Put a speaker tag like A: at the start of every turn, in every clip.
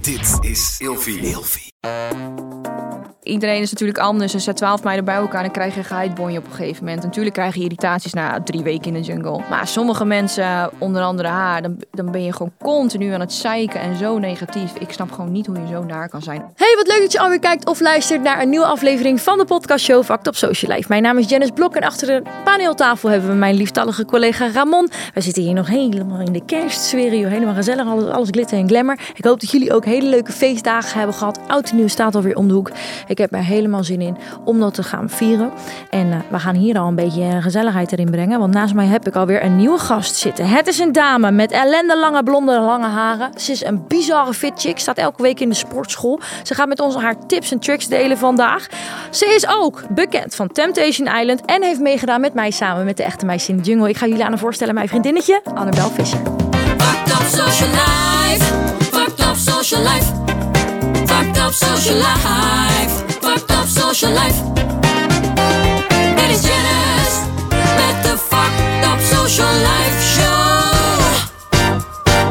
A: Dit is Ilfie. Ilfie.
B: Iedereen is natuurlijk anders. Er zijn twaalf meiden bij elkaar en dan krijg je een geheidbonje op een gegeven moment. Natuurlijk krijg je irritaties na drie weken in de jungle. Maar sommige mensen, eh, onder andere haar, dan, dan ben je gewoon continu aan het zeiken en zo negatief. Ik snap gewoon niet hoe je zo naar kan zijn.
C: Hey, wat leuk dat je alweer kijkt of luistert naar een nieuwe aflevering van de podcastshow Fact op Social Life. Mijn naam is Janice Blok en achter de paneeltafel hebben we mijn lieftallige collega Ramon. We zitten hier nog helemaal in de kerstsfeer, joh. helemaal gezellig, alles, alles glitter en glamour. Ik hoop dat jullie ook hele leuke feestdagen hebben gehad. Oud en nieuw staat alweer om de hoek. Ik heb er helemaal zin in om dat te gaan vieren. En eh, we gaan hier al een beetje eh, gezelligheid erin brengen, want naast mij heb ik alweer een nieuwe gast zitten. Het is een dame met ellende lange blonde lange haren. Ze is een bizarre fit chick, staat elke week in de sportschool. Ze gaat met ons haar tips en tricks delen vandaag. Ze is ook bekend van Temptation Island en heeft meegedaan met mij samen met de echte meisjes in de jungle. Ik ga jullie aan haar voorstellen, mijn vriendinnetje Annabel Visser.
D: Fucked up social life. Fucked up social life. Fucked up social life. Fucked up social life. Dit is Janice met de Fucked up social life show.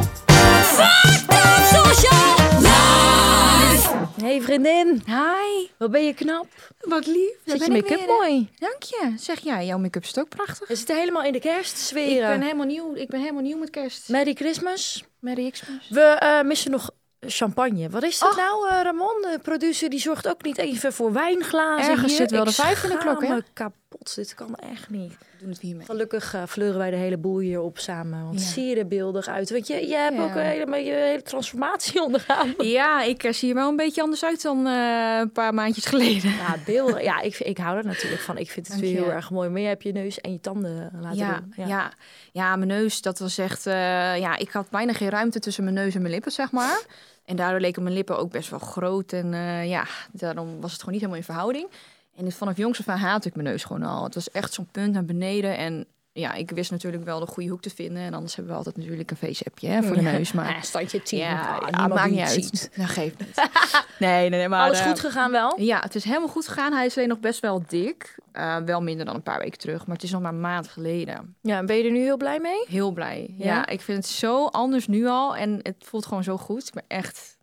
D: Fucked up social life.
C: Hey vriendin,
B: Hi,
C: wat ben je knap.
B: wat lief.
C: Zit je make-up mooi?
B: Dank je. Zeg jij, jouw make-up is ook prachtig.
C: We zitten helemaal in de kerstsfeer.
B: Ik ben helemaal nieuw. Ik ben helemaal nieuw met kerst.
C: Merry Christmas.
B: Merry Xmas.
C: We eh, missen nog champagne. Wat is dat
B: Ach.
C: nou, eh, Ramon? De producer die zorgt ook niet even voor wijnglazen.
B: Ergens
C: hier.
B: zit wel
C: Ik
B: de vijf in de
C: schaam
B: klok, hè?
C: me kapot. Dit kan echt niet.
B: We doen het hiermee.
C: Gelukkig eh, fleuren wij de hele boel hierop samen. Want
B: Ja.
C: zie je er beeldig uit. Want je, je hebt
B: Ja.
C: ook een hele, je hele transformatie ondergaan.
B: Ja, ik eh, zie er wel een beetje anders uit dan eh, een paar maandjes geleden.
C: Ja, beelden. Ja, ik, ik hou er natuurlijk van. Ik vind het
B: Dank
C: weer
B: je.
C: heel erg mooi. Maar je hebt je neus en je tanden eh, laten
B: ja,
C: doen.
B: ja. Ja. mijn neus, dat was echt... eh, ja, ik had bijna geen ruimte tussen mijn neus en mijn lippen, zeg maar. En daardoor leken mijn lippen ook best wel groot. En eh, ja, daarom was het gewoon niet helemaal in verhouding. En vanaf jongs af aan haatte ik mijn neus gewoon al. Het was echt zo'n punt naar beneden. En ja, ik wist natuurlijk wel de goede hoek te vinden. En anders hebben we altijd natuurlijk een feesappje hè, voor de neus. Maar
C: Ah, standje 10.
B: ja,
C: Ah,
B: ja,
C: niemand
B: maakt
C: die
B: niet
C: het
B: uit.
C: ziet. Nou,
B: Dat geeft niet. Nee, nee, nee. Maar,
C: Alles
B: eh,
C: goed gegaan wel?
B: ja, het is helemaal goed gegaan. Hij is alleen nog best wel dik. Eh, wel minder dan een paar weken terug, maar het is nog maar een maand geleden.
C: Ja, ben je er nu heel blij mee?
B: Heel blij. Ja,
C: Ja?
B: ik vind het zo anders nu al en het voelt gewoon zo goed. Ik ben echt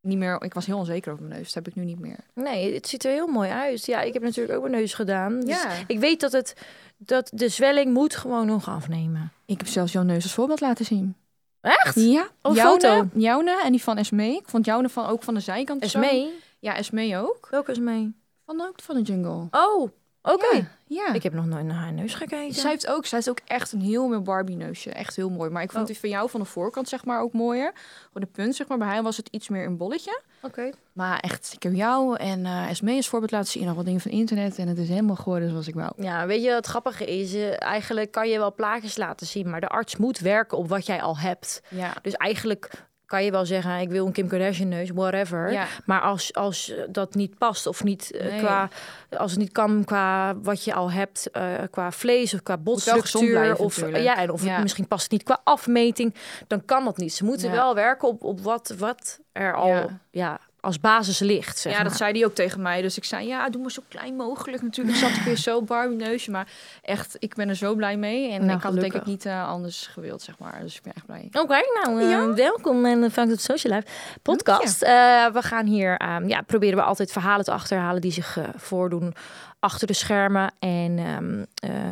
B: niet meer. Ik was heel onzeker over mijn neus. Dat heb ik nu niet meer.
C: Nee, het ziet er heel mooi uit. Ja, ik heb natuurlijk ook mijn neus gedaan. Dus
B: Ja.
C: ik weet dat, het, dat de zwelling moet gewoon nog afnemen.
B: Ik heb zelfs jouw neus als voorbeeld laten zien.
C: Echt?
B: Ja.
C: Op
B: jouw
C: foto?
B: Jouw ne en die van Esme. Ik vond jouw ne van ook van de zijkant.
C: Is
B: zo.
C: mee?
B: Ja, Esme ook.
C: Welke is mee?
B: Van ook van de jungle.
C: Oh, oké.
B: Ja.
C: Ik heb nog nooit naar haar neus gekeken.
B: Zij heeft ook, zij heeft ook echt een heel mooi Barbie neusje. Echt heel mooi. Maar ik vond
C: Oh.
B: die van jou van de voorkant zeg maar ook mooier. Gewoon de punt zeg maar. Bij haar was het iets meer een bolletje.
C: Oké.
B: Maar echt, ik heb jou en eh Esme als voorbeeld laten zien. Nog wat dingen van internet. En het is helemaal geworden zoals ik wou.
C: Ja, weet je wat het grappige is? Eh, Eigenlijk kan je wel plaatjes laten zien, maar de arts moet werken op wat jij al hebt.
B: Ja.
C: Dus eigenlijk kan je wel zeggen, ik wil een Kim Kardashian neus, whatever.
B: Ja.
C: Maar als, als eh, dat niet past of niet eh,
B: Nee.
C: qua, als het niet kan qua wat je al hebt, eh, qua vlees of qua
B: gezond
C: botstructuur.
B: blijven
C: Of, eh,
B: natuurlijk.
C: ja, en of het
B: Ja.
C: misschien past het niet qua afmeting, dan kan dat niet. Ze moeten
B: Ja.
C: wel werken op, op wat, wat er al ja.
B: Ja.
C: als basis ligt. Zeg
B: ja, dat
C: maar.
B: zei die ook tegen mij. Dus ik zei, ja, doe maar zo klein mogelijk. Natuurlijk zat ik weer zo Barbie neusje. Maar echt, ik ben er zo blij mee. En
C: Nou,
B: ik had het denk ik
C: gelukkig.
B: niet eh, anders gewild, zeg maar. Dus ik ben echt blij.
C: Oké, nou, eh, welkom in de Frank Doet Social Life podcast. Eh, we gaan hier, ehm, ja, proberen we altijd verhalen te achterhalen die zich eh, voordoen achter de schermen. En ehm, eh,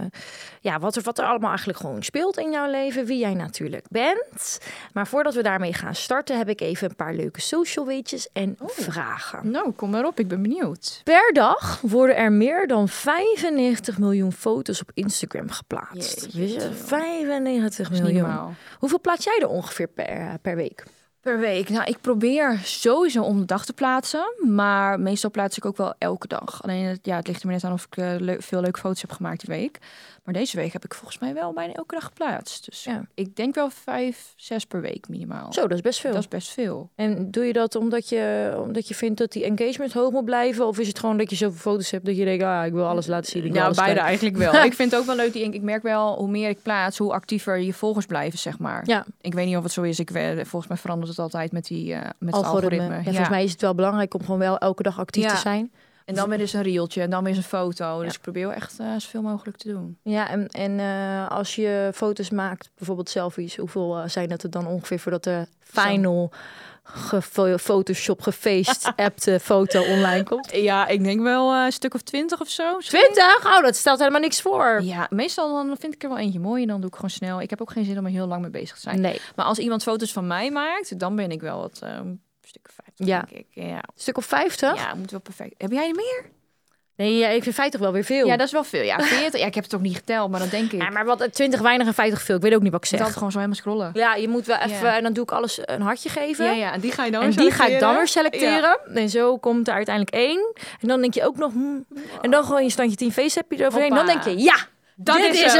C: ja, wat er, wat er allemaal eigenlijk gewoon speelt in jouw leven, wie jij natuurlijk bent. Maar voordat we daarmee gaan starten, heb ik even een paar leuke social weetjes en
B: Oh.
C: vragen.
B: Nou, kom maar op. Ik ben benieuwd.
C: Per dag worden er meer dan 95 miljoen foto's op Instagram geplaatst.
B: Jeetje,
C: Weet je,
B: joh.
C: 95
B: Dat is niet
C: miljoen.
B: normaal.
C: Hoeveel plaats jij er ongeveer per, eh, per week?
B: Per week? Nou, ik probeer sowieso om de dag te plaatsen. Maar meestal plaats ik ook wel elke dag. Alleen, het- ja, het ligt er maar net aan of ik eh, leu- veel leuke foto's heb gemaakt die week. Maar deze week heb ik volgens mij wel bijna elke dag geplaatst. Dus
C: Ja.
B: ik denk wel vijf, zes per week minimaal.
C: Zo, dat is best veel.
B: Dat is best veel.
C: En doe je dat omdat je, omdat je vindt dat die engagement hoog moet blijven? Of is het gewoon dat je zoveel foto's hebt dat je denkt, ah, ik wil alles laten zien. Ik wil
B: Ja,
C: alles
B: beide
C: kijken.
B: eigenlijk wel. ik vind het ook wel leuk. die- Ik merk wel, hoe meer ik plaats, hoe actiever je volgers blijven, zeg maar.
C: Ja,
B: Ik weet niet of het zo is. Ik, we- volgens mij verandert het altijd met, die, eh, met het
C: algoritme.
B: algoritme.
C: Ja,
B: Ja.
C: Volgens mij is het wel belangrijk om gewoon wel elke dag actief
B: Ja.
C: te zijn.
B: En dan weer eens een reeltje en dan weer eens een foto. Dus ik probeer wel echt eh, zoveel mogelijk te doen.
C: Ja, en, en eh, als je foto's maakt, bijvoorbeeld selfies, hoeveel eh, zijn dat er dan ongeveer voordat de final gefotoshop, gefeest, appte eh, foto online komt.
B: Ja, ik denk wel eh, een stuk of twintig of zo. misschien.
C: 20? Oh, dat stelt helemaal niks voor.
B: Ja, meestal dan vind ik er wel eentje mooi en dan doe ik gewoon snel. Ik heb ook geen zin om er heel lang mee bezig te zijn.
C: Nee.
B: Maar als iemand foto's van mij maakt, dan ben ik wel wat eh, een stuk of vijftig,
C: Ja.
B: denk ik. Ja.
C: Stuk of 50?
B: Ja, moet wel perfect. Heb jij er meer?
C: Nee, ja, ik vind 50 wel weer veel.
B: Ja, dat is wel veel. Ja, 40. ja, ik heb het ook niet geteld, maar dan denk ik.
C: Ja, maar wat 20 weinig en 50 veel. Ik weet ook niet wat ik
B: Ik
C: zeg.
B: had gewoon zo helemaal scrollen.
C: Ja, je moet wel even.
B: Ja.
C: En dan doe ik alles een hartje geven.
B: Ja, ja, en die ga je dan
C: En
B: weer
C: die ga ik dan weer
B: selecteren.
C: selecteren. En zo komt er uiteindelijk één. En dan denk je ook nog. hmm. En dan gooi je een standje 10 feest heb je eroverheen.
B: Hoppa.
C: Dan denk je, ja,
B: Dat
C: dit
B: is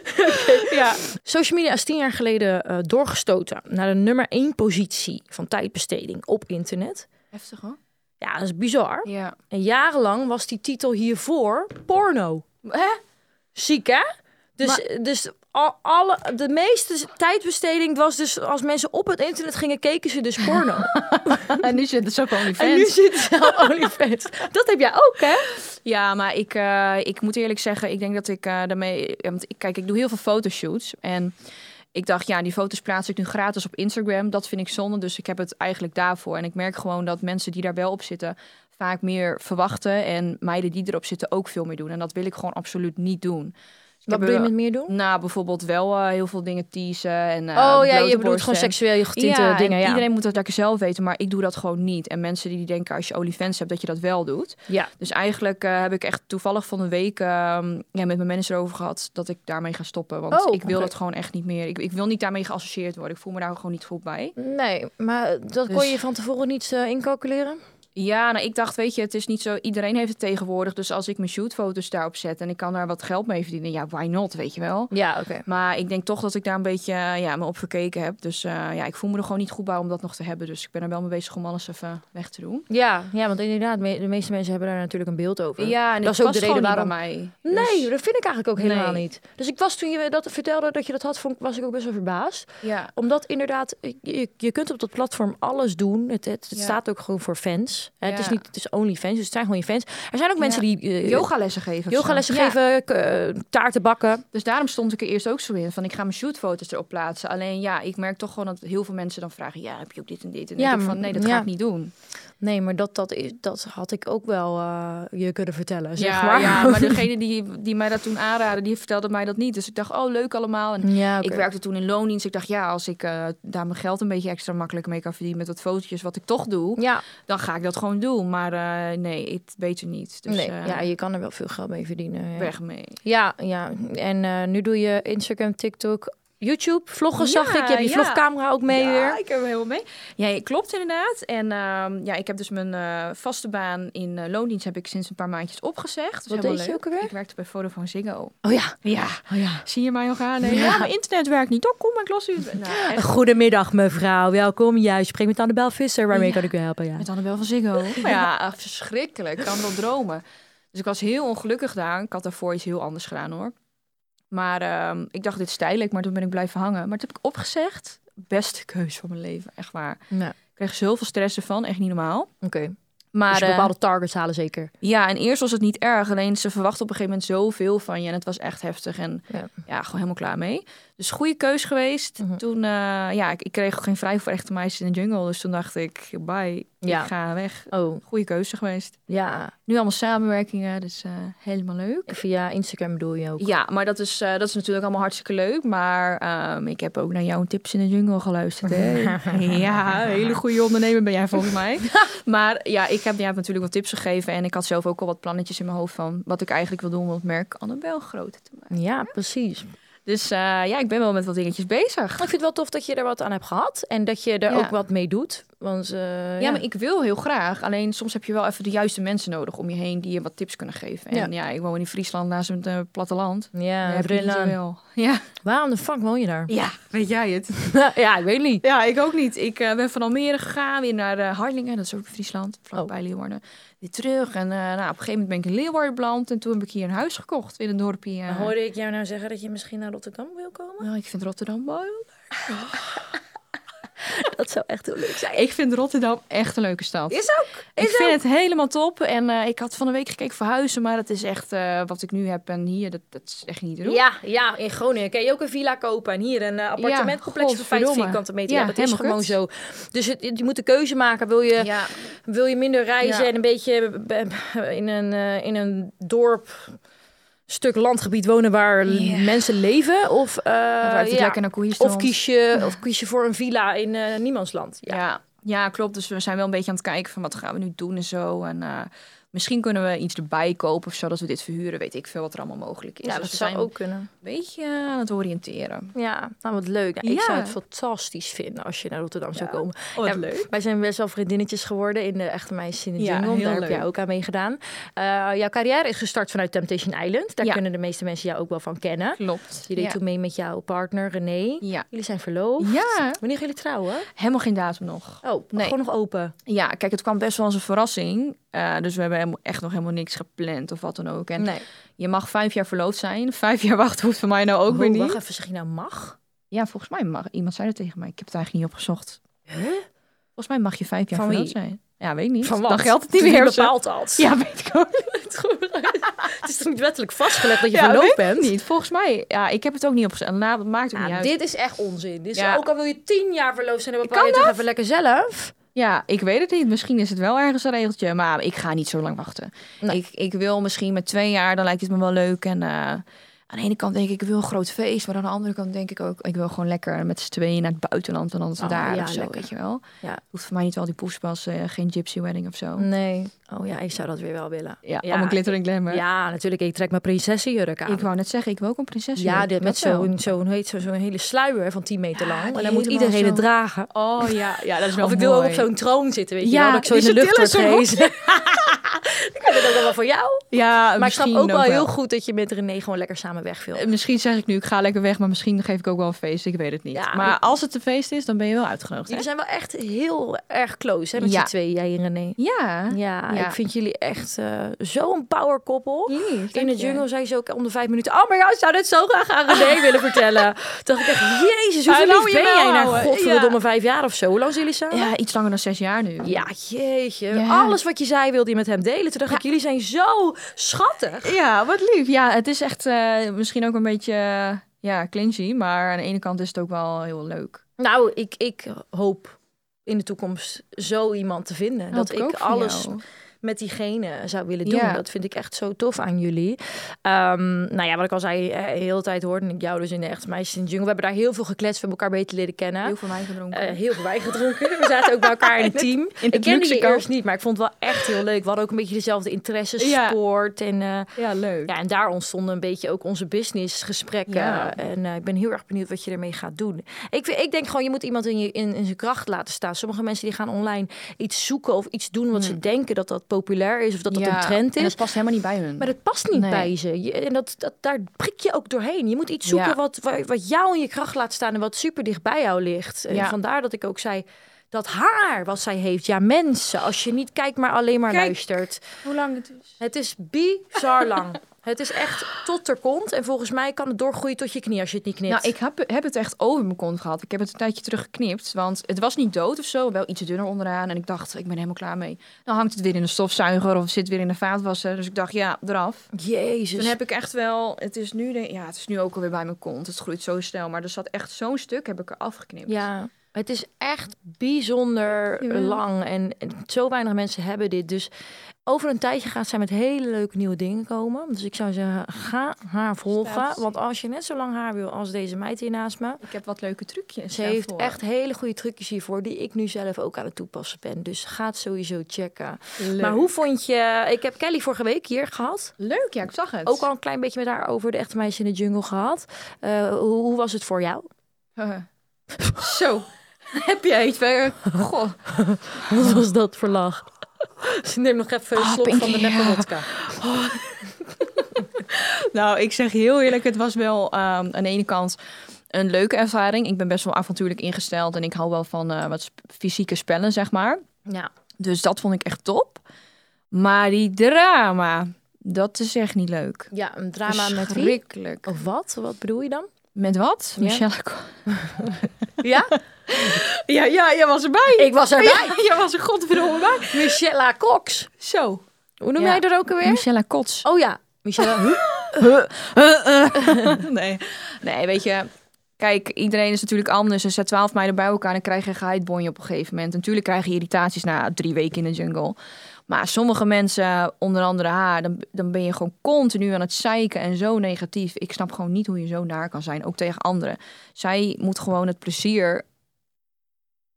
B: Ja.
C: Social media is tien jaar geleden eh, doorgestoten naar de nummer één positie van tijdbesteding op internet.
B: Heftig hoor.
C: Ja, dat is bizar.
B: Ja.
C: En jarenlang was die titel hiervoor porno.
B: Hè?
C: Ziek, hè? Dus,
B: Maar-
C: dus al, alle, de meeste tijdbesteding was dus als mensen op het internet gingen, keken ze dus porno.
B: En nu zit het dus zo gewoon
C: en nu zitten ze op OnlyFans. Dat heb jij ook, hè?
B: Ja, maar ik, eh, ik moet eerlijk zeggen, ik denk dat ik eh, daarmee. ja, Want ik, kijk, ik doe heel veel fotoshoots. En ik dacht, ja, die foto's plaats ik nu gratis op Instagram. Dat vind ik zonde. Dus ik heb het eigenlijk daarvoor. En ik merk gewoon dat mensen die daar wel op zitten, vaak meer verwachten. En meiden die erop zitten ook veel meer doen. En dat wil ik gewoon absoluut niet doen. Dus ik
C: Wat
B: heb
C: bedoel je
B: er-
C: met meer doen?
B: Nou, bijvoorbeeld wel eh, heel veel dingen teasen. En, eh,
C: oh ja,
B: blote
C: je bedoelt
B: borsten
C: gewoon
B: en-
C: seksueel getinte
B: ja,
C: eh, dingen.
B: en
C: Ja.
B: Iedereen moet dat lekker zelf weten, maar ik doe dat gewoon niet. En mensen die denken als je OnlyFans hebt dat je dat wel doet.
C: ja.
B: Dus eigenlijk eh, heb ik echt toevallig van een week ehm, ja, met mijn manager over gehad dat ik daarmee ga stoppen. Want
C: Oh,
B: ik wil
C: oké.
B: dat gewoon echt niet meer. Ik, ik wil niet daarmee geassocieerd worden. Ik voel me daar gewoon niet goed bij.
C: Nee, maar dat kon
B: Dus-
C: je van tevoren niet eh, incalculeren?
B: Ja, nou ik dacht, weet je, het is niet zo. Iedereen heeft het tegenwoordig. Dus als ik mijn shootfoto's daarop zet en ik kan daar wat geld mee verdienen, ja, why not, weet je wel.
C: Ja, oké.
B: Maar ik denk toch dat ik daar een beetje eh, ja, me op verkeken heb. Dus eh, ja, ik voel me er gewoon niet goed bij om dat nog te hebben. Dus ik ben er wel mee bezig om alles even weg te doen.
C: Ja, ja, want inderdaad, me- de meeste mensen hebben daar natuurlijk een beeld over.
B: Ja, en
C: dat
B: het
C: is ook de
B: past
C: reden
B: gewoon niet
C: waarom.
B: bij mij.
C: Nee,
B: Dus,
C: dat vind ik eigenlijk ook helemaal
B: Nee.
C: niet. Dus ik was toen je dat vertelde dat je dat had, vond, ik- was ik ook best wel verbaasd.
B: ja.
C: Omdat inderdaad, je, je kunt op dat platform alles doen. Het, het, het
B: Ja.
C: staat ook gewoon voor fans. Hè, Het is
B: Ja.
C: niet, het is only fans, dus het zijn gewoon je fans. Er zijn ook mensen die eh,
B: Yogalessen geven. of
C: yogalessen
B: zo. Ja.
C: geven, k- eh, taarten bakken.
B: Dus daarom stond ik er eerst ook zo in. Van ik ga mijn shootfoto's erop plaatsen. Alleen ja, ik merk toch gewoon dat heel veel mensen dan vragen. Ja, heb je ook dit en dit? En
C: Ja,
B: ik denk van
C: maar-
B: nee, dat
C: ja.
B: ga ik niet doen.
C: Nee, maar dat, dat, is, dat had ik ook wel eh, je kunnen vertellen, zeg
B: ja,
C: maar.
B: ja, maar degene die, die mij dat toen aanraden, die vertelde mij dat niet. Dus ik dacht, oh leuk allemaal. En
C: Ja, oké.
B: Ik werkte toen in loondienst. Ik dacht, ja, als ik eh, daar mijn geld een beetje extra makkelijk mee kan verdienen met wat fotootjes wat ik toch doe,
C: Ja,
B: dan ga ik dat gewoon doen. Maar eh, nee, ik beter niet. Dus
C: nee,
B: eh,
C: ja, je kan er wel veel geld mee verdienen. ja.
B: weg mee.
C: Ja, ja. En eh, nu doe je Instagram, TikTok, YouTube. Vloggen
B: Ja,
C: zag ik. Je hebt je
B: ja.
C: vlogcamera ook mee
B: ja,
C: weer.
B: ik heb hem helemaal mee. Ja, klopt inderdaad. En ehm, ja, ik heb dus mijn eh, vaste baan in eh, loondienst heb ik sinds een paar maandjes opgezegd. Dat is
C: Wat
B: helemaal
C: deed je
B: leuk.
C: ook alweer?
B: Ik werkte bij Vodafone Ziggo.
C: Oh ja.
B: Ja,
C: Oh ja.
B: zie je mij nog aan? Nee,
C: Ja.
B: ja. mijn internet werkt niet. Oh, kom, ik los u. het. Nou, echt.
C: Goedemiddag mevrouw, welkom. Ja, u spreekt met Annabel Visser. Waarmee
B: Ja.
C: kan ik u helpen? Ja.
B: Met Annabel van Ziggo. Maar ja, ah, verschrikkelijk. Ik kan wel dromen. Dus ik was heel ongelukkig daar. Ik had daarvoor iets heel anders gedaan hoor. Maar ehm, ik dacht, dit is tijdelijk. Maar toen ben ik blijven hangen. Maar toen heb ik opgezegd. Beste keuze van mijn leven, echt waar.
C: Ja.
B: Ik kreeg zoveel stress ervan, echt niet normaal.
C: Oké.
B: Maar
C: Dus je
B: eh,
C: bepaalde targets halen zeker.
B: Ja, en eerst was het niet erg. Alleen ze verwachten op een gegeven moment zoveel van je. En het was echt heftig. En
C: Ja.
B: ja, gewoon helemaal klaar mee. Dus goede keus geweest.
C: Mhm.
B: Toen, eh, ja, ik, ik kreeg ook geen vrij voor echte meisjes in de jungle. Dus toen dacht ik, bye,
C: Ja.
B: ik ga weg.
C: Oh,
B: Goede keuze geweest.
C: ja.
B: Nu allemaal samenwerkingen, dus eh, helemaal leuk.
C: Via Instagram bedoel je ook.
B: Ja, maar dat is, eh, dat is natuurlijk allemaal hartstikke leuk. Maar ehm, ik heb ook naar jouw tips in de jungle geluisterd. Hè? ja, een hele goede ondernemer ben jij volgens mij. maar ja, ik heb, jij hebt natuurlijk wat tips gegeven. En ik had zelf ook al wat plannetjes in mijn hoofd van wat ik eigenlijk wil doen om het merk Annabel groter te maken.
C: Ja, precies.
B: Dus eh, ja, ik ben wel met wat dingetjes bezig.
C: Ik vind het wel tof dat je er wat aan hebt gehad. En dat je er
B: Ja.
C: ook wat mee doet. Want eh,
B: Ja, maar ik wil heel graag. Alleen soms heb je wel even de juiste mensen nodig om je heen die je wat tips kunnen geven. En ja, ik woon in Friesland naast het eh, platteland.
C: Ja,
B: Daar heb je niet
C: Brillen.
B: zoveel. Ja.
C: Waarom de fuck woon je daar?
B: ja, weet jij het?
C: ja, ik weet niet.
B: Ja, ik ook niet. Ik eh, ben van Almere gegaan, weer naar eh Harlingen, dat is ook in Friesland,
C: Oh.
B: vlakbij Leeuwarden. Weer terug en eh, nou, op een gegeven moment ben ik in Leeuwarden beland en toen heb ik hier een huis gekocht in een dorpje. eh.
C: Hoorde ik jou nou zeggen dat je misschien naar Rotterdam wil komen?
B: Nou, ik vind Rotterdam mooi.
C: Dat zou echt heel leuk zijn.
B: Ik vind Rotterdam echt een leuke stad.
C: Is ook.
B: ik vind het helemaal top. En eh, ik had van de week gekeken voor huizen, maar dat is echt eh, wat ik nu heb en hier, dat, dat is echt niet te doen.
C: Ja, ja, in Groningen kan je ook een villa kopen. En hier een eh, appartementcomplex van 5
B: godverdomme.
C: vierkante meter. Ja,
B: Ja,
C: dat is
B: helemaal
C: gewoon
B: kut.
C: zo. Dus het, het- je moet de keuze maken. Wil je,
B: Ja.
C: wil je minder reizen
B: Ja.
C: en een beetje be- be- in een, eh, in een dorp, stuk landgebied wonen waar l-
B: Ja.
C: mensen leven? Of, eh,
B: Ruikt het
C: ja.
B: lekker naar koeien
C: of, kies je, of kies je voor een villa in eh, niemandsland? Ja.
B: Ja. ja, klopt. Dus we zijn wel een beetje aan het kijken van wat gaan we nu doen en zo. En eh, misschien kunnen we iets erbij kopen of zo, dat we dit verhuren. Weet ik veel wat er allemaal mogelijk is.
C: Ja,
B: Dus
C: dat
B: we
C: zou
B: zijn
C: ook kunnen.
B: een beetje aan het oriënteren.
C: Ja, nou wat leuk. Nou, ik
B: Ja.
C: zou het fantastisch vinden als je naar Rotterdam zou komen.
B: Oh, wat
C: Ja,
B: leuk.
C: Wij zijn best wel vriendinnetjes geworden in de Echte Meisjes in de
B: Ja,
C: Jungle.
B: heel
C: Daar heb jij
B: leuk.
C: ook aan meegedaan. Eh jouw carrière is gestart vanuit Temptation Island. Daar
B: Ja.
C: kunnen de meeste mensen jou ook wel van kennen.
B: Klopt.
C: Je deed
B: ja.
C: toen mee met jouw partner René.
B: Ja.
C: Jullie zijn verloofd.
B: Ja.
C: Wanneer gaan jullie trouwen?
B: helemaal geen datum nog.
C: Oh,
B: Nee.
C: gewoon nog open.
B: Ja, kijk, het kwam best wel als een verrassing. Eh, dus we hebben helemaal- echt nog helemaal niks gepland of wat dan ook. En
C: nee.
B: je mag vijf jaar verloofd zijn. Vijf jaar wachten hoeft voor mij nou ook
C: Oh,
B: weer niet.
C: Wacht even, zeg je nou mag?
B: Ja, volgens mij mag iemand zei dat tegen mij. Ik heb het eigenlijk niet opgezocht. Volgens mij mag je vijf jaar
C: Van
B: verloofd
C: wie?
B: zijn. Ja, weet ik niet.
C: Van wat?
B: Dan geldt het niet
C: Wie
B: meer. of zo.
C: bepaalt dat.
B: Ja, weet ik ook niet.
C: het is toch niet wettelijk vastgelegd dat je
B: Ja,
C: verloofd
B: weet
C: bent?
B: ik niet. Volgens mij, ja, ik heb het ook niet opgezocht. En na- dat maakt ook
C: Nou,
B: niet uit.
C: dit is echt onzin. Dit is,
B: Ja.
C: Ook al wil je tien jaar verloofd zijn, dan bepaal
B: Kan
C: je toch even lekker zelf.
B: Ja, ik weet het niet. Misschien is het wel ergens een regeltje, maar ik ga niet zo lang wachten.
C: Nee.
B: Ik, ik wil misschien met twee jaar, dan lijkt het me wel leuk. En eh, aan de ene kant denk ik, ik wil een groot feest. Maar aan de andere kant denk ik ook, ik wil gewoon lekker met z'n tweeën naar het buitenland. En dan
C: Oh,
B: daar
C: ja,
B: of zo,
C: lekker.
B: weet je wel.
C: Ja.
B: Hoeft voor mij niet wel die poespas, eh, geen gypsy wedding of zo.
C: Nee. Oh ja, ik zou dat weer wel willen.
B: Ja, allemaal glitter en glamour.
C: Ja, natuurlijk. Ik trek mijn prinsessenjurk aan.
B: Ik wou net zeggen, ik wil ook een prinses.
C: ja, dit, met
B: zo
C: zo'n zo heet zo, zo'n hele sluier van 10 meter
B: Ja,
C: lang.
B: die
C: En dan moet
B: helemaal
C: iedereen het
B: zo.
C: dragen.
B: Oh ja, ja, dat is wel
C: Of ik wil ook op zo'n troon zitten, weet je
B: Ja,
C: wel. Dat ik zo in
B: die
C: de lucht word
B: chatilla is
C: gehezen. ik vind het ook wel wat voor jou.
B: Ja,
C: Maar ik snap
B: misschien
C: ook wel
B: wel.
C: heel goed dat je met René gewoon lekker samen weg wil.
B: Eh, Misschien zeg ik nu, ik ga lekker weg, maar misschien geef ik ook wel een feest. Ik weet het niet.
C: Ja,
B: maar
C: ik-
B: als het een feest is, dan ben je wel uitgenodigd. hè?
C: Jullie zijn wel echt heel erg close, hè, met
B: Ja.
C: z'n tweeën, jij en René.
B: Ja.
C: Ja,
B: Ja.
C: ik vind jullie echt eh, zo'n power koppel.
B: Lief,
C: In
B: dank je.
C: de jungle zei ze ook om de vijf minuten... Oh, maar ja, ik zou dit zo graag aan René willen vertellen. Toen dacht ik echt, jezus, hoe
B: Hij
C: lief
B: wou
C: ben
B: je
C: jij
B: wel
C: na
B: houden.
C: godverdomme
B: Ja.
C: vijf jaar of zo? Hoe lang zijn jullie samen?
B: Ja, iets langer dan zes jaar nu.
C: Ja, jeetje.
B: Ja.
C: Alles wat je zei wilde je met hem delen. Toen dacht ik, jullie zijn zo schattig.
B: Ja, wat lief. Ja, het is echt eh, misschien ook een beetje eh, ja, clingy, maar aan de ene kant is het ook wel heel leuk.
C: Nou, ik, ik hoop in de toekomst zo iemand te vinden. dat
B: Hoop
C: ik,
B: ook van
C: alles
B: jou.
C: met diegene zou willen doen.
B: Ja.
C: Dat vind ik echt zo tof aan jullie. Ehm, nou ja, wat ik al zei, eh, heel de hele tijd hoorde ik jou dus in de Echt Meisjes in de Jungle. We hebben daar heel veel gekletst, we hebben elkaar beter leren kennen.
B: Heel veel wijn gedronken.
C: Eh, heel veel wijn gedronken. We zaten ook bij elkaar in het team.
B: het
C: ik kende
B: luxe
C: je
B: kamp.
C: eerst niet, maar ik vond het wel echt heel leuk. We hadden ook een beetje dezelfde interesses,
B: Ja.
C: sport en... eh,
B: ja, leuk.
C: ja, en daar ontstonden een beetje ook onze businessgesprekken.
B: Ja.
C: En eh, ik ben heel erg benieuwd wat je ermee gaat doen. Ik, vind- ik denk gewoon, je moet iemand in, je, in, in zijn kracht laten staan. Sommige mensen die gaan online iets zoeken of iets doen wat ze denken dat dat populair is of dat dat
B: Mm. Ja,
C: een trend
B: en
C: is.
B: dat past helemaal niet bij hun.
C: Maar dat past niet
B: Nee.
C: bij ze. Je- en dat, dat, daar prik je ook doorheen. Je moet iets zoeken
B: Ja.
C: wat, wa- wat jou in je kracht laat staan en wat super dicht bij jou ligt. En
B: Ja.
C: vandaar dat ik ook zei. Dat haar, wat zij heeft. Ja, mensen. Als je niet kijkt, maar alleen maar
B: Kijk.
C: luistert.
B: hoe lang het is.
C: Het is bizar lang. Het is echt tot ter kont. En volgens mij kan het doorgroeien tot je knie als je het niet knipt.
B: Nou, ik heb, heb het echt over mijn kont gehad. Ik heb het een tijdje terug geknipt, want het was niet dood of zo. Wel iets dunner onderaan. En ik dacht, ik ben helemaal klaar mee. Dan hangt het weer in de stofzuiger of het zit weer in de vaatwasser. Dus ik dacht, ja, eraf.
C: Jezus.
B: Toen heb ik echt wel, het is nu, denk- ja, het is nu ook alweer bij mijn kont. Het groeit zo snel, maar er zat echt zo'n stuk, heb ik er afgeknipt.
C: Ja, het is echt bijzonder
B: Jawel.
C: lang. En zo weinig mensen hebben dit. Dus over een tijdje gaat zij met hele leuke nieuwe dingen komen. Dus ik zou zeggen, ga haar volgen.
B: Staat-
C: Want als je net zo lang haar wil als deze meid hier naast me...
B: Ik heb wat leuke trucjes.
C: Ze heeft
B: daarvoor.
C: echt hele goede trucjes hiervoor, die ik nu zelf ook aan het toepassen ben. Dus ga het sowieso checken.
B: leuk.
C: Maar hoe vond je... Ik heb Kelly vorige week hier gehad.
B: leuk, ja, ik zag het.
C: ook al een klein beetje met haar over de echte meisjes in de jungle gehad. Eh, hoe, hoe was het voor jou?
B: zo. Heb jij iets weer? Goh.
C: Wat was dat voor lach? Ze neemt nog even een
B: Ah,
C: slok van de
B: Pinky,
C: neppe
B: ja.
C: vodka.
B: Nou, ik zeg heel eerlijk, het was wel ehm, aan de ene kant een leuke ervaring. Ik ben best wel avontuurlijk ingesteld en ik hou wel van eh, wat sp- fysieke spellen, zeg maar.
C: Ja.
B: Dus dat vond ik echt top. Maar die drama, dat is echt niet leuk.
C: ja, een drama met wie?
B: Verschrikkelijk.
C: Of wat? Wat bedoel je dan?
B: Met wat?
C: Ja.
B: Michelle Ko-
C: Ja?
B: Ja, ja, jij was erbij.
C: Ik was erbij.
B: Ja, jij was er godverdomme bij.
C: Michelle Cox.
B: Zo.
C: Hoe noem
B: Ja.
C: jij dat ook alweer?
B: Michelle Kots.
C: Oh ja, Michelle.
B: Oh, nee. nee, weet je. Kijk, iedereen is natuurlijk anders. Er zijn twaalf meiden bij elkaar en dan krijg je een geheidbonje op een gegeven moment. Natuurlijk krijg je irritaties na drie weken in de jungle. Maar sommige mensen, onder andere haar, dan, dan ben je gewoon continu aan het zeiken en zo negatief. Ik snap gewoon niet hoe je zo naar kan zijn, ook tegen anderen. Zij moet gewoon het plezier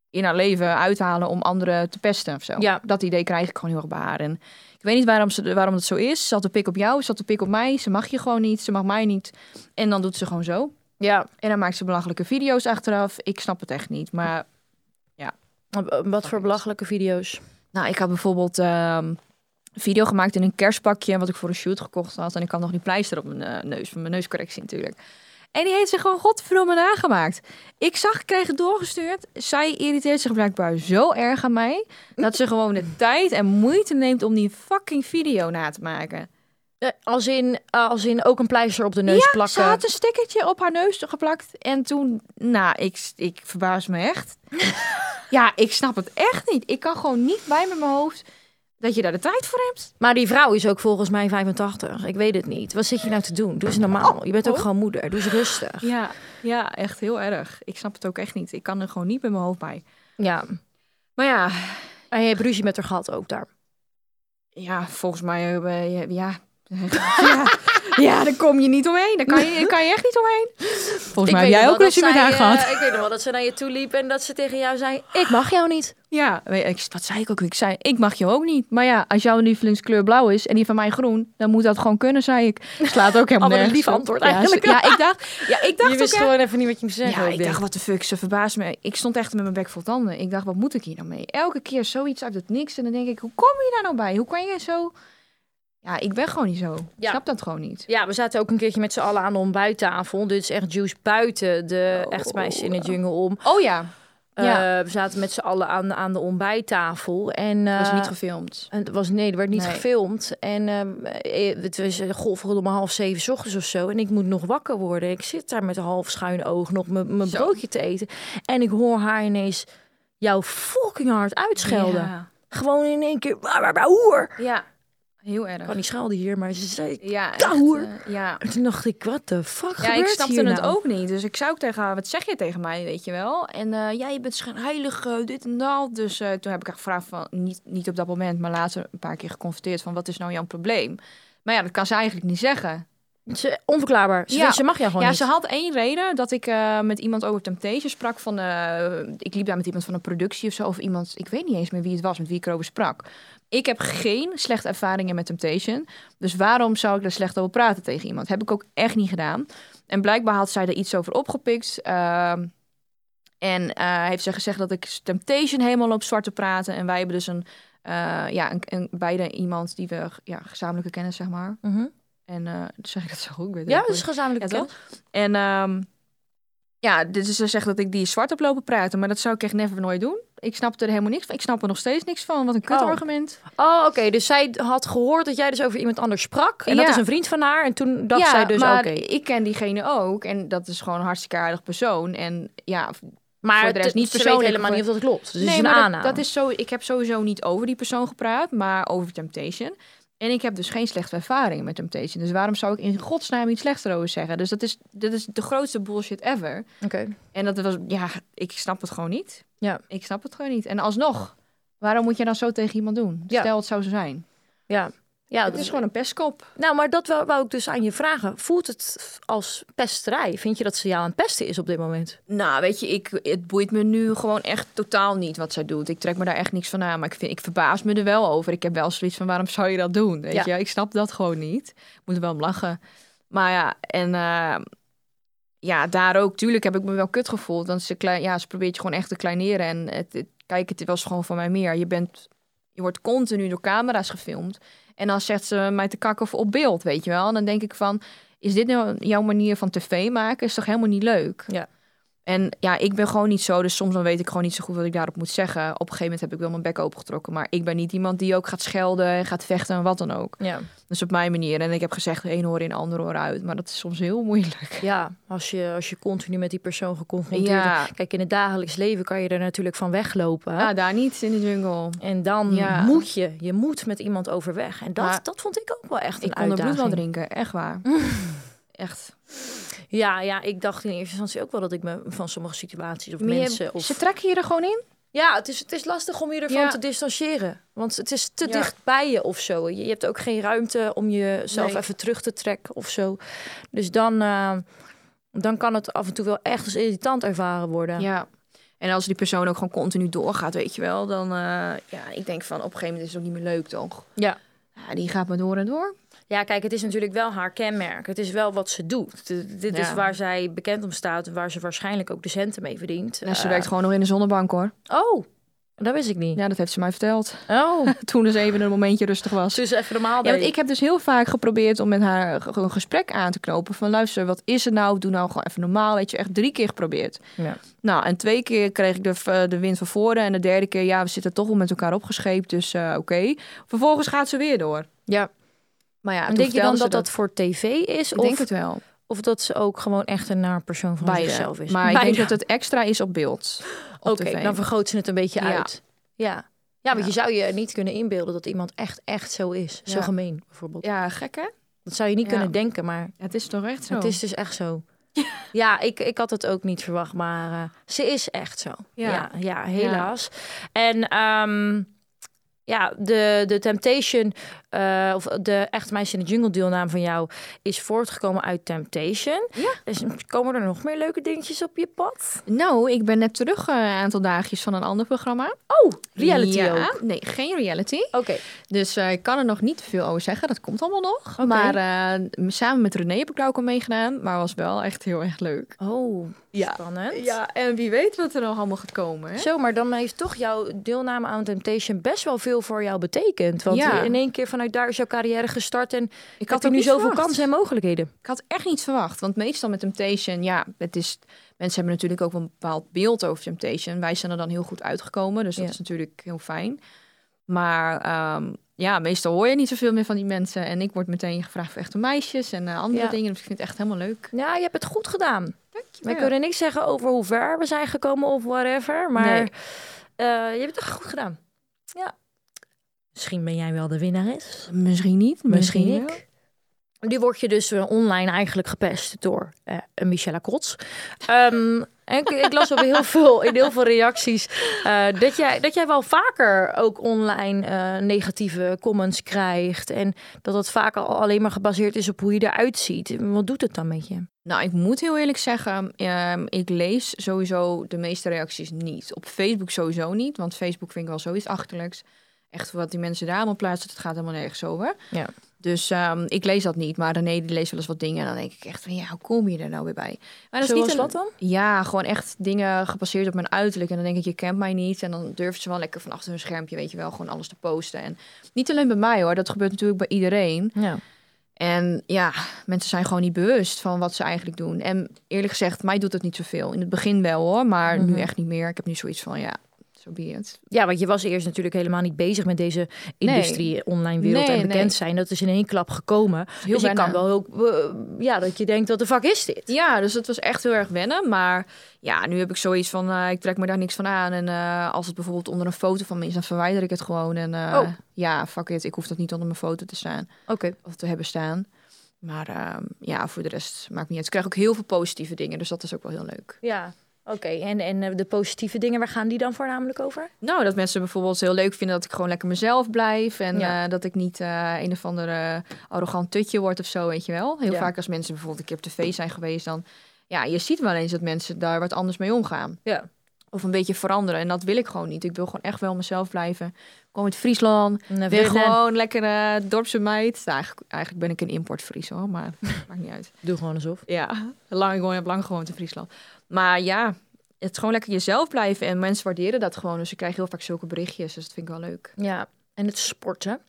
B: in haar leven uithalen om anderen te pesten of zo.
C: Ja.
B: Dat idee krijg ik gewoon heel erg bij haar. En ik weet niet waarom, ze, waarom dat zo is. Ze had de pik op jou, ze had de pik op mij. Ze mag je gewoon niet, ze mag mij niet. En dan doet ze gewoon zo.
C: ja.
B: En dan maakt ze belachelijke video's achteraf. Ik snap het echt niet. Maar
C: Wat voor belachelijke video's.
B: nou, ik had bijvoorbeeld ehm, een video gemaakt in een kerstpakje... wat ik voor een shoot gekocht had. En ik had nog die pleister op mijn eh, neus, van mijn neuscorrectie natuurlijk. En die heeft zich gewoon godverdomme nagemaakt. Ik zag, ik kreeg het doorgestuurd. Zij irriteert zich blijkbaar zo erg aan mij... dat ze gewoon de tijd en moeite neemt om die fucking video na te maken.
C: Eh, Als in, als in ook een pleister op de neus plakken.
B: Ze had een stickertje op haar neus geplakt. En toen, nou, ik, ik verbaas me echt. ja, ik snap het echt niet. Ik kan gewoon niet bij met mijn hoofd dat je daar de tijd voor hebt.
C: Maar die vrouw is ook volgens mij 85. Ik weet het niet. Wat zit je nou te doen? Doe eens normaal. Je bent ook
B: oh.
C: gewoon moeder. Doe eens rustig.
B: Ja, ja, echt heel erg. Ik snap het ook echt niet. Ik kan er gewoon niet met mijn hoofd bij.
C: Ja.
B: Maar ja,
C: En je hebt ruzie met haar gehad ook daar.
B: ja volgens mij, eh, eh, ja. ja. Ja, daar kom je niet omheen. Daar kan je, daar kan je echt niet omheen. Volgens mij
C: Ik
B: heb
C: weet nog
B: jij
C: wel
B: ook
C: dat
B: ruzie met
C: zij,
B: haar
C: eh,
B: gehad.
C: Ik weet nog wel dat ze naar je toe liep en dat ze tegen jou zei... Ik mag jou niet.
B: Ja, weet- ik, wat zei ik ook? Ik zei, ik mag je ook niet. Maar ja, als jouw lievelingskleur blauw is en die van mij groen, dan moet dat gewoon kunnen, zei ik. Slaat ook helemaal
C: Allemaal een
B: nergens
C: lief
B: op.
C: antwoord
B: Ja,
C: eigenlijk.
B: ze- Ja, ik dacht, ja, ik dacht
C: je
B: ook
C: wist
B: echt-
C: gewoon even niet wat je moest zeggen.
B: Ja,
C: ook,
B: ik
C: denk
B: dacht, wat de fuck, ze verbaast me. Ik stond echt met mijn bek vol tanden. Ik dacht, wat moet ik hier nou mee? Elke keer zoiets uit het niks. En dan denk ik, hoe kom je daar nou bij? Hoe kan je zo... Ja, ik ben gewoon niet zo. Ik
C: Ja.
B: snap dat gewoon niet.
C: Ja, we zaten ook een keertje met z'n allen aan de ontbijttafel. Dit is echt juice buiten de
B: Oh.
C: echt meisjes in de jungle om.
B: Oh ja, Ja.
C: Eh, we zaten met z'n allen aan, aan de ontbijttafel. En,
B: dat was
C: eh,
B: niet gefilmd.
C: en het was, nee, er werd niet
B: Nee.
C: gefilmd. En eh, eh, het was eh, golf rond om half zeven 's ochtends of zo. En ik moet nog wakker worden. Ik zit daar met een half schuin oog nog mijn mijn
B: Zo.
C: broodje te eten. En ik hoor haar ineens jou fucking hard uitschelden.
B: Ja,
C: Gewoon in één keer, "Wa, wa, wa, hoer.
B: Ja, heel erg.
C: Ik kan niet schelden hier, maar ze zei...
B: Ja, echt,
C: Touwer.
B: eh, ja,
C: En toen dacht ik, wat de fuck
B: Ja, ik
C: gebeurt
B: snapte
C: hier
B: het
C: nou?
B: ook niet. Dus ik zou ook tegen haar, wat zeg je tegen mij, weet je wel? En eh, ja, je bent schijnheilig, eh, dit en dat. Dus eh, toen heb ik haar gevraagd van, niet, niet op dat moment, maar later een paar keer geconfronteerd van, wat is nou jouw probleem? Maar ja, dat kan ze eigenlijk niet zeggen.
C: Ze, onverklaarbaar. Ze,
B: Ja.
C: ze mag jou gewoon
B: ja,
C: niet.
B: ze had één reden dat ik eh, met iemand over Temptation sprak. Van, eh, ik liep daar met iemand van een productie of zo. Of iemand, ik weet niet eens meer wie het was, met wie ik erover sprak. Ik heb geen slechte ervaringen met Temptation. Dus waarom zou ik er slecht over praten tegen iemand? Heb ik ook echt niet gedaan. En blijkbaar had zij er iets over opgepikt. ehm, en eh, heeft ze gezegd dat ik Temptation helemaal op zwart te praten. En wij hebben dus een, eh, ja, een, een- beide iemand die we ja, gezamenlijke kennen, zeg maar.
C: Mhm.
B: En eh, zeg ik dat zo goed?
C: Ja, dat is dus gezamenlijk
B: Ja, toch? En ehm, ja, dit is ze zegt dat ik die zwart heb lopen praten, maar dat zou ik echt never nooit doen. Ik snap er helemaal niks van. Ik snap er nog steeds niks van. Wat een kut
C: Oh.
B: argument.
C: Oh, oké. Dus zij had gehoord dat jij dus over iemand anders sprak. En dat
B: Ja.
C: is een vriend van haar. En toen dacht
B: ja,
C: zij dus, oké.
B: maar ik ken diegene ook en dat is gewoon een hartstikke aardig persoon. En ja,
C: Maar
B: voor de rest
C: het-
B: niet
C: ze weet
B: persoonlijk,
C: helemaal niet of dat klopt. Dus het is een
B: maar dat-
C: aanname.
B: Dat, is zo. Ik heb sowieso niet over die persoon gepraat, maar over Temptation. En ik heb dus geen slechte ervaring met Temptation. Dus waarom zou ik in godsnaam iets slechts erover zeggen? Dus dat is, dat is de grootste bullshit ever.
C: Oké.
B: En dat was, ja, ik snap het gewoon niet.
C: Ja.
B: Ik snap het gewoon niet. En alsnog, waarom moet je dan zo tegen iemand doen?
C: Ja.
B: Stel, het zou zo zijn.
C: Ja. Ja,
B: het is gewoon een pestkop.
C: Nou, maar dat wou, wou ik dus aan je vragen. Voelt het als pesterij? Vind je dat ze jou aan het pesten is op dit moment?
B: Nou, weet je, ik, het boeit me nu gewoon echt totaal niet wat zij doet. Ik trek me daar echt niks van aan. Maar ik, vind, ik verbaas me er wel over. Ik heb wel zoiets van, waarom zou je dat doen? Weet
C: Ja.
B: je? Ik snap dat gewoon niet. Ik moet er wel om lachen. Maar ja, en eh, ja, daar ook. Tuurlijk heb ik me wel kut gevoeld. Want ze, klei- ja, ze probeert je gewoon echt te kleineren. En het, het- kijk, het was gewoon van mij meer. Je, bent, je wordt continu door camera's gefilmd. En dan zegt ze mij te kakken voor op beeld, weet je wel. En dan denk ik van, is dit nou jouw manier van tv maken? Is toch helemaal niet leuk?
C: Ja.
B: En ja, ik ben gewoon niet zo, dus soms dan weet ik gewoon niet zo goed wat ik daarop moet zeggen. Op een gegeven moment heb ik wel mijn bek opengetrokken, maar ik ben niet iemand die ook gaat schelden en gaat vechten en wat dan ook.
C: Ja.
B: Dus op mijn manier. En ik heb gezegd, de een hoor in, de ander hoor uit. Maar dat is soms heel moeilijk.
C: Ja, als je, als je continu met die persoon geconfronteerd
B: Ja.
C: wordt. Kijk, in het dagelijks leven kan je er natuurlijk van weglopen. hè?
B: Ja, daar niet in de jungle.
C: En dan
B: Ja.
C: moet je, je moet met iemand overweg. En dat,
B: Maar
C: dat vond ik ook wel echt een
B: Ik kon dat bloed wel
C: uitdaging.
B: drinken, echt waar. Echt.
C: Ja, ja, ik dacht in eerste instantie ook wel dat ik me van sommige situaties of
B: Maar je-
C: mensen... Of...
B: Ze trekken je er gewoon in?
C: Ja, het is, het is lastig om je ervan
B: Ja.
C: te distancieren. Want het is te
B: Ja.
C: dicht bij je of zo. Je, je hebt ook geen ruimte om jezelf
B: Nee.
C: even terug te trekken of zo. Dus dan, eh, dan kan het af en toe wel echt als irritant ervaren worden.
B: Ja. En als die persoon ook gewoon continu doorgaat, weet je wel, dan eh, ja, ik denk van op een gegeven moment is het ook niet meer leuk, toch?
C: Ja.
B: Ja, die gaat maar door en door.
C: Ja, kijk, het is natuurlijk wel haar kenmerk. Het is wel wat ze doet. D- dit is
B: Ja.
C: waar zij bekend om staat, waar ze waarschijnlijk ook de centen mee verdient.
B: En ze
C: Eh,
B: werkt gewoon nog in de zonnebank hoor.
C: Oh, dat wist ik niet.
B: Ja, dat heeft ze mij verteld.
C: Oh,
B: Toen dus even een momentje rustig was.
C: dus even normaal.
B: Ja, want
C: deed.
B: ik heb dus heel vaak geprobeerd om met haar gewoon een gesprek aan te knopen. Van luister, wat is het nou? Doe nou gewoon even normaal. Weet je, echt drie keer geprobeerd.
C: Ja.
B: Nou, en twee keer kreeg ik de, v- de wind van voren. En de derde keer, ja, we zitten toch wel met elkaar opgescheept. Dus eh, oké. Vervolgens gaat ze weer door.
C: Ja.
B: Maar ja,
C: En
B: toen
C: denk je dan
B: vertelde
C: dat
B: ze
C: dat voor tv is?
B: Ik
C: of,
B: denk het wel.
C: of dat ze ook gewoon echt een naar persoon van
B: Beide.
C: zichzelf is?
B: Maar ik denk
C: Beide.
B: dat het extra is op beeld. Op
C: Oké,
B: tv.
C: dan vergroot ze het een beetje
B: Ja.
C: uit. Ja. Ja, want
B: Ja.
C: je zou je niet kunnen inbeelden dat iemand echt, echt zo is. Zo
B: Ja.
C: gemeen, bijvoorbeeld.
B: Ja, gek hè?
C: Dat zou je niet
B: Ja.
C: kunnen denken, maar
B: Het is toch echt zo?
C: het is dus echt zo. Ja, ik, ik had het ook niet verwacht, maar eh, ze is echt zo. Ja,
B: Ja.
C: ja, helaas. En ehm, ja, de, de Temptation, eh, of de Echt Meisje in de Jungle deelnaam van jou, is voortgekomen uit Temptation.
B: Ja.
C: Dus komen er nog meer leuke dingetjes op je pad?
B: Nou, ik ben net terug eh, een aantal dagjes van een ander programma.
C: Oh, reality
B: ja.
C: ook.
B: Nee, geen reality.
C: Oké.
B: Dus eh, ik kan er nog niet veel over zeggen. Dat komt allemaal nog.
C: Oké.
B: Maar eh, m- samen met René heb ik daar ook al meegedaan. Maar was wel echt heel erg leuk.
C: Oh,
B: Ja.
C: spannend.
B: Ja, en wie weet wat er nog allemaal gaat komen. Hè?
C: Zo, maar dan heeft toch jouw deelname aan Temptation best wel veel voor jou betekend. Want
B: Ja.
C: in één keer vanuit daar is jouw carrière gestart en
B: Ik
C: had
B: had
C: er
B: ook
C: nu
B: niet
C: zoveel
B: verwacht.
C: kansen en mogelijkheden.
B: Ik had echt niet verwacht. Want meestal met Temptation, ja, het is, mensen hebben natuurlijk ook een bepaald beeld over Temptation. Wij zijn er dan heel goed uitgekomen. Dus dat
C: Ja.
B: is natuurlijk heel fijn. Maar ehm, ja, meestal hoor je niet zoveel meer van die mensen. En ik word meteen gevraagd voor echte meisjes en eh, andere
C: Ja.
B: dingen. Dus ik vind het echt helemaal leuk.
C: Ja, je hebt het goed gedaan. We
B: Dankjewel.
C: kunnen niks zeggen over hoe ver we zijn gekomen of whatever. Maar
B: Nee.
C: eh, je hebt het echt goed gedaan. Ja. Misschien ben jij wel de winnares.
B: Misschien niet, misschien,
C: Misschien
B: wel.
C: ik. Nu word je dus eh, online eigenlijk gepest door eh een Michelle Kots. Ehm, en ik, ik las op heel veel, in heel veel reacties eh, dat, jij, dat jij wel vaker ook online eh, negatieve comments krijgt. En dat dat vaak al alleen maar gebaseerd is op hoe je eruit ziet. Wat doet het dan met je?
B: Nou, ik moet heel eerlijk zeggen, ehm, ik lees sowieso de meeste reacties niet. Op Facebook sowieso niet, want Facebook vind ik wel zoiets achterlijks. Echt wat die mensen daar allemaal plaatsen, dat gaat helemaal nergens over.
C: Ja.
B: Dus ehm, ik lees dat niet, maar René die leest wel eens wat dingen en dan denk ik echt van ja, hoe kom je er nou weer bij? Maar dat
C: Zoals
B: een-
C: wat dan?
B: Ja, gewoon echt dingen gebaseerd op mijn uiterlijk. En dan denk ik, je kent mij niet. En dan durven ze wel lekker van achter hun schermpje, weet je wel, gewoon alles te posten. En niet alleen bij mij hoor, dat gebeurt natuurlijk bij iedereen.
C: Ja.
B: En ja, mensen zijn gewoon niet bewust van wat ze eigenlijk doen. En eerlijk gezegd, mij doet het niet zoveel. In het begin wel hoor, maar
C: Mhm.
B: nu echt niet meer. Ik heb nu zoiets van, ja, zo be het.
C: Ja, want je was eerst natuurlijk helemaal niet bezig met deze industrie, online wereld
B: Nee,
C: en bekend
B: nee.
C: zijn. Dat is in één klap gekomen.
B: Heel
C: dus je
B: wennen.
C: kan wel ook, eh, ja, dat je denkt, wat de fuck is dit?
B: Ja, dus het was echt heel erg wennen. Maar ja, nu heb ik zoiets van, eh, ik trek me daar niks van aan. En eh, als het bijvoorbeeld onder een foto van me is, dan verwijder ik het gewoon. En eh,
C: Oh.
B: ja, fuck it, ik hoef dat niet onder mijn foto te staan.
C: Oké.
B: Of te hebben staan. Maar ehm, ja, voor de rest maakt niet uit. Ik krijg ook heel veel positieve dingen, dus dat is ook wel heel leuk.
C: Ja, oké. En, en eh, de positieve dingen, waar gaan die dan voornamelijk over?
B: Nou, dat mensen bijvoorbeeld heel leuk vinden dat ik gewoon lekker mezelf blijf. En
C: Ja.
B: eh, dat ik niet eh, een of andere arrogant tutje word of zo, weet je wel. Heel
C: Ja.
B: vaak als mensen bijvoorbeeld een keer op tv zijn geweest, dan... Ja, je ziet wel eens dat mensen daar wat anders mee omgaan.
C: Ja.
B: Of een beetje veranderen. En dat wil ik gewoon niet. Ik wil gewoon echt wel mezelf blijven. Ik kom uit Friesland.
C: Nou,
B: Weer gewoon lekker eh dorpse meid. Nou, eigenlijk, eigenlijk ben ik een import Fries hoor, maar maakt niet uit.
C: Doe gewoon alsof.
B: Ja, lang, ik heb lang gewoond in Friesland. Maar ja, het is gewoon lekker jezelf blijven. En mensen waarderen dat gewoon. Dus ik krijg heel vaak zulke berichtjes. Dus dat vind ik wel leuk.
C: Ja, en het sporten.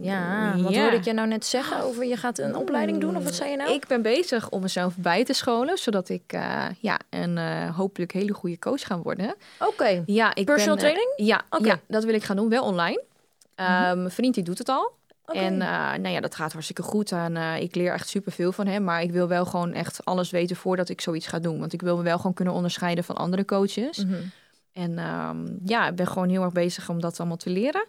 C: Ja, wat
B: ja.
C: hoorde ik je nou net zeggen over je gaat een opleiding doen? Of wat zei je nou?
B: Ik ben bezig om mezelf bij te scholen, zodat ik eh, ja, een eh, hopelijk hele goede coach ga worden.
C: Oké.
B: Ja, ik
C: Personal
B: ben, eh,
C: training?
B: Ja,
C: Oké. Mhm.
B: ja, dat wil ik gaan doen, wel online. Eh, Mijn vriend die doet het al.
C: Oké.
B: En eh, nou ja, dat gaat hartstikke goed. En eh, ik leer echt superveel van hem. Maar ik wil wel gewoon echt alles weten voordat ik zoiets ga doen. Want ik wil me wel gewoon kunnen onderscheiden van andere coaches.
C: Mhm.
B: En ehm, ja, ik ben gewoon heel erg bezig om dat allemaal te leren.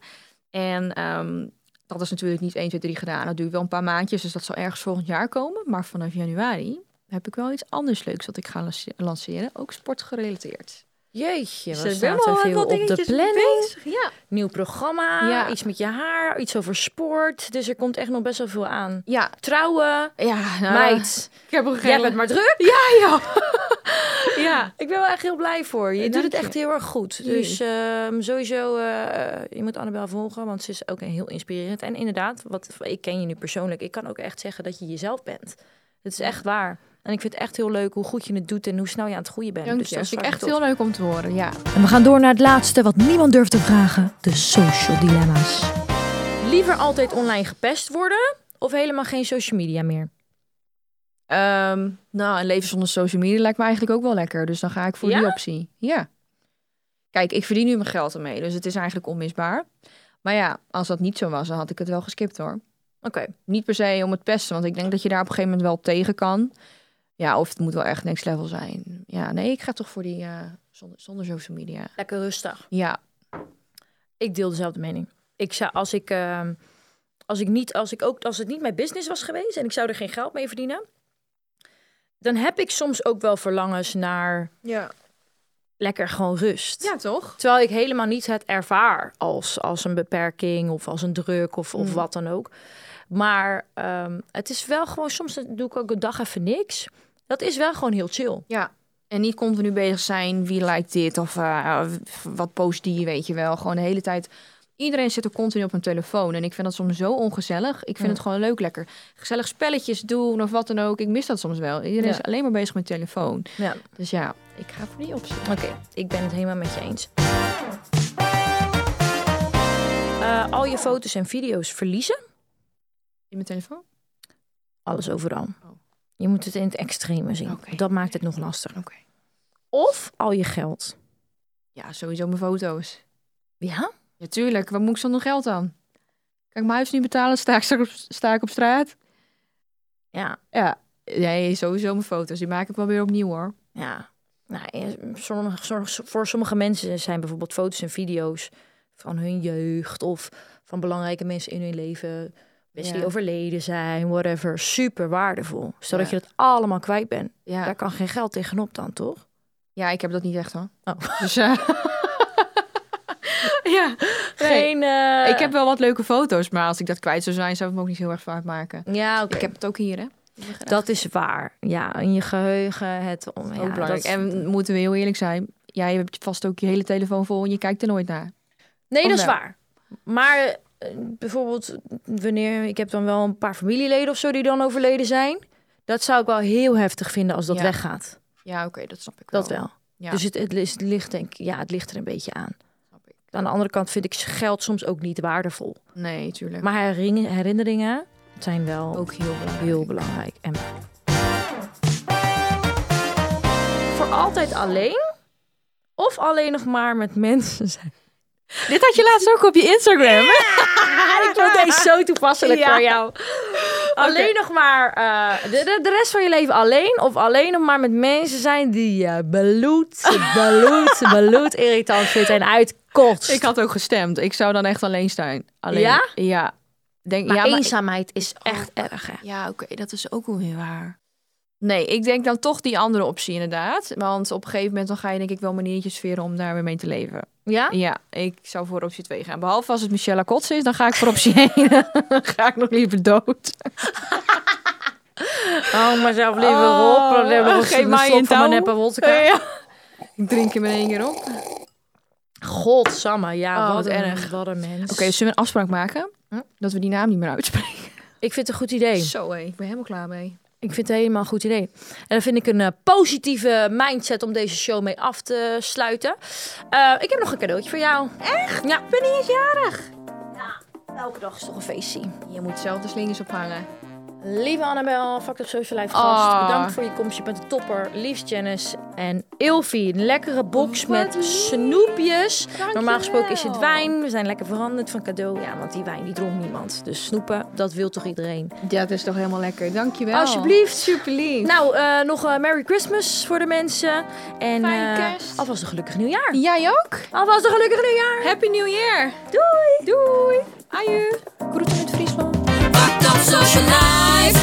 B: En ehm, dat is natuurlijk niet 1, 2, 3 gedaan. Dat duurt wel een paar maandjes, dus dat zal ergens volgend jaar komen. Maar vanaf januari heb ik wel iets anders leuks dat ik ga lance- lanceren. Ook sportgerelateerd.
C: Jeetje,
B: Dus
C: we
B: er
C: staan
B: wel
C: te
B: wat
C: veel op de
B: dingetjes
C: planning.
B: bezig, Ja.
C: Nieuw programma,
B: Ja.
C: iets met je haar, iets over sport. Dus er komt echt nog best wel veel aan.
B: Ja,
C: Trouwen,
B: ja nou,
C: meid,
B: Ik heb er
C: jij
B: geen...
C: bent maar druk.
B: Ja, joh. ja.
C: Ik ben wel echt heel blij voor Eh, je. Je doet
B: dank
C: het
B: je.
C: echt heel erg goed.
B: Jullie.
C: Dus ehm, sowieso, eh, je moet Annabel volgen, want ze is ook een heel inspirerend. En inderdaad, wat, ik ken je nu persoonlijk. Ik kan ook echt zeggen dat je jezelf bent. Het is echt waar. En ik vind het echt heel leuk hoe goed je het doet en hoe snel je aan het groeien bent.
B: Dank
C: dus
B: je.
C: dat
B: Dat
C: is
B: vind ik
C: hartstikke
B: echt
C: tof.
B: heel leuk om te horen, ja.
C: En we gaan door naar het laatste wat niemand durft te vragen: de social dilemma's. Liever altijd online gepest worden of helemaal geen social media meer?
B: Ehm, nou, een leven zonder social media lijkt me eigenlijk ook wel lekker. Dus dan ga ik voor
C: Ja?
B: die optie. Ja. Kijk, ik verdien nu mijn geld ermee. Dus het is eigenlijk onmisbaar. Maar ja, als dat niet zo was, dan had ik het wel geskipt hoor.
C: Oké,
B: Niet per se om het pesten, want ik denk dat je daar op een gegeven moment wel op tegen kan. Ja, of het moet wel echt next level zijn. Ja, nee, ik ga toch voor die eh, zonder, zonder social media.
C: lekker rustig.
B: Ja,
C: Ik deel dezelfde mening. Ik zou, als ik, ehm, als ik niet, als ik ook, als het niet mijn business was geweest en ik zou er geen geld mee verdienen, dan heb ik soms ook wel verlangens naar
B: ja.
C: lekker gewoon rust.
B: ja toch?
C: Terwijl ik helemaal niet het ervaar als, als een beperking of als een druk of, of
B: Mm.
C: wat dan ook. Maar ehm, het is wel gewoon, soms doe ik ook een dag even niks. Dat is wel gewoon heel chill.
B: Ja. En niet continu bezig zijn, wie lijkt dit of eh, wat post die, weet je wel. Gewoon de hele tijd. Iedereen zit er continu op een telefoon. En ik vind dat soms zo ongezellig. Ik vind
C: Ja.
B: het gewoon leuk, lekker. Gezellig spelletjes doen of wat dan ook. Ik mis dat soms wel. Iedereen
C: Ja.
B: is alleen maar bezig met telefoon.
C: Ja.
B: Dus ja, ik ga voor die optie.
C: Oké, ik ben het helemaal met je eens. Eh, al je foto's en video's verliezen.
B: In mijn telefoon?
C: Alles overal.
B: Oh.
C: Je moet het in het extreme zien.
B: Oké.
C: Dat maakt het nog lastiger.
B: Oké.
C: Of al je geld.
B: Ja, sowieso mijn foto's.
C: Ja?
B: Ja, tuurlijk. Waar moet ik zonder geld aan? Kan ik mijn huis niet betalen? Sta ik, straks op, sta ik op straat?
C: Ja.
B: Ja. Nee, sowieso mijn foto's. Die maak ik wel weer opnieuw hoor.
C: Ja, nou, eh, sommige, sommige- voor sommige mensen zijn bijvoorbeeld foto's en video's van hun jeugd of van belangrijke mensen in hun leven, mensen die
B: Ja.
C: overleden zijn, whatever, super waardevol. Zodat
B: Ja.
C: je dat allemaal kwijt bent.
B: Ja.
C: Daar kan geen geld tegenop dan, toch?
B: Ja, ik heb dat niet echt hoor.
C: Oh.
B: Dus, eh, ja, nee.
C: Geen. eh,
B: Ik heb wel wat leuke foto's, maar als ik dat kwijt zou zijn, zou het me ook niet heel erg vaak maken.
C: Ja, oké.
B: Ik heb het ook hier, hè?
C: Dat is waar. Ja, in je geheugen, het om. ja,
B: ook belangrijk.
C: dat-
B: En moeten we heel eerlijk zijn, jij hebt vast ook je hele telefoon vol en je kijkt er nooit naar.
C: Nee,
B: Of
C: dat is
B: wel?
C: waar. Maar eh, bijvoorbeeld wanneer ik heb dan wel een paar familieleden of zo die dan overleden zijn, dat zou ik wel heel heftig vinden als dat
B: Ja.
C: weggaat.
B: Ja, oké, dat snap ik wel.
C: Dat wel.
B: Ja.
C: Dus het, het, is- het ligt denk ik, ja, het ligt er een beetje aan.
B: Snap ik.
C: Aan de andere kant vind ik geld soms ook niet waardevol.
B: Nee, tuurlijk.
C: Maar heringe- herinneringen zijn wel
B: ook heel belangrijk.
C: heel belangrijk en waardevol. Voor altijd alleen of alleen nog maar met mensen zijn.
B: Dit had je laatst ook op je Instagram.
C: ik vond deze zo toepasselijk
B: Ja.
C: voor jou. Alleen nog maar eh, de, de, de rest van je leven alleen. Of alleen nog maar met mensen zijn die je bloed, bloed, bloed irritant vindt en uitkotst.
B: Ik had ook gestemd. Ik zou dan echt alleen zijn. Alleen,
C: Ja?
B: Ja. Denk,
C: Maar
B: ja, maar-
C: eenzaamheid is echt erg. Hè?
B: Ja, oké, dat is ook wel weer waar. Nee, ik denk dan toch die andere optie inderdaad. Want op een gegeven moment dan ga je denk ik wel maniertjes veren om daar weer mee te leven.
C: Ja?
B: Ja, ik zou voor optie 2 gaan. Behalve als het Michelle Kots is, dan ga ik voor optie 1. dan ga ik nog liever dood.
C: Oh, mezelf liever
B: Oh,
C: op. Dan heb ik
B: geef
C: Geen
B: mij
C: mij
B: een
C: in mijn
B: touw.
C: neppe wodka.
B: Ja. Ik drink hem in één keer op. Oké,
C: Godsamme, ja,
B: Oh,
C: wat,
B: wat
C: een,
B: erg.
C: wat een mens.
B: zullen we een afspraak maken? Dat we die naam niet meer uitspreken.
C: Ik vind het een goed idee.
B: Zo hé, ik ben helemaal klaar mee.
C: Ik vind het helemaal een goed idee. En dat vind ik een eh, positieve mindset om deze show mee af te sluiten. Eh, ik heb nog een cadeautje voor jou. Echt? Ja. Ik ben niet eens jarig. Elke dag is toch een feestje.
B: Je moet zelf de slingers ophangen.
C: Lieve Annabel, Fuck Up Social Life gast.
B: Ah.
C: Bedankt voor je komst. Je bent een topper. Liefst Janice en Ilfie. Een lekkere box
B: Oh, Wat
C: met
B: lief.
C: snoepjes. Normaal gesproken is het
B: Dankjewel.
C: wijn. We zijn lekker veranderd van cadeau. Ja, want die wijn die dronk niemand. Dus snoepen, dat wil toch iedereen.
B: Ja, dat is toch helemaal lekker. Dankjewel.
C: Alsjeblieft.
B: Super lief.
C: Nou, eh, nog eh, Merry Christmas voor de mensen. En
B: Fijne
C: eh,
B: kerst.
C: alvast een gelukkig nieuwjaar.
B: Nou, Jij ook?
C: Alvast een gelukkig nieuwjaar.
B: Happy New Year.
C: Doei.
B: Doei. Aju.
C: Groeten uit Friesland.
D: Fucked up social life.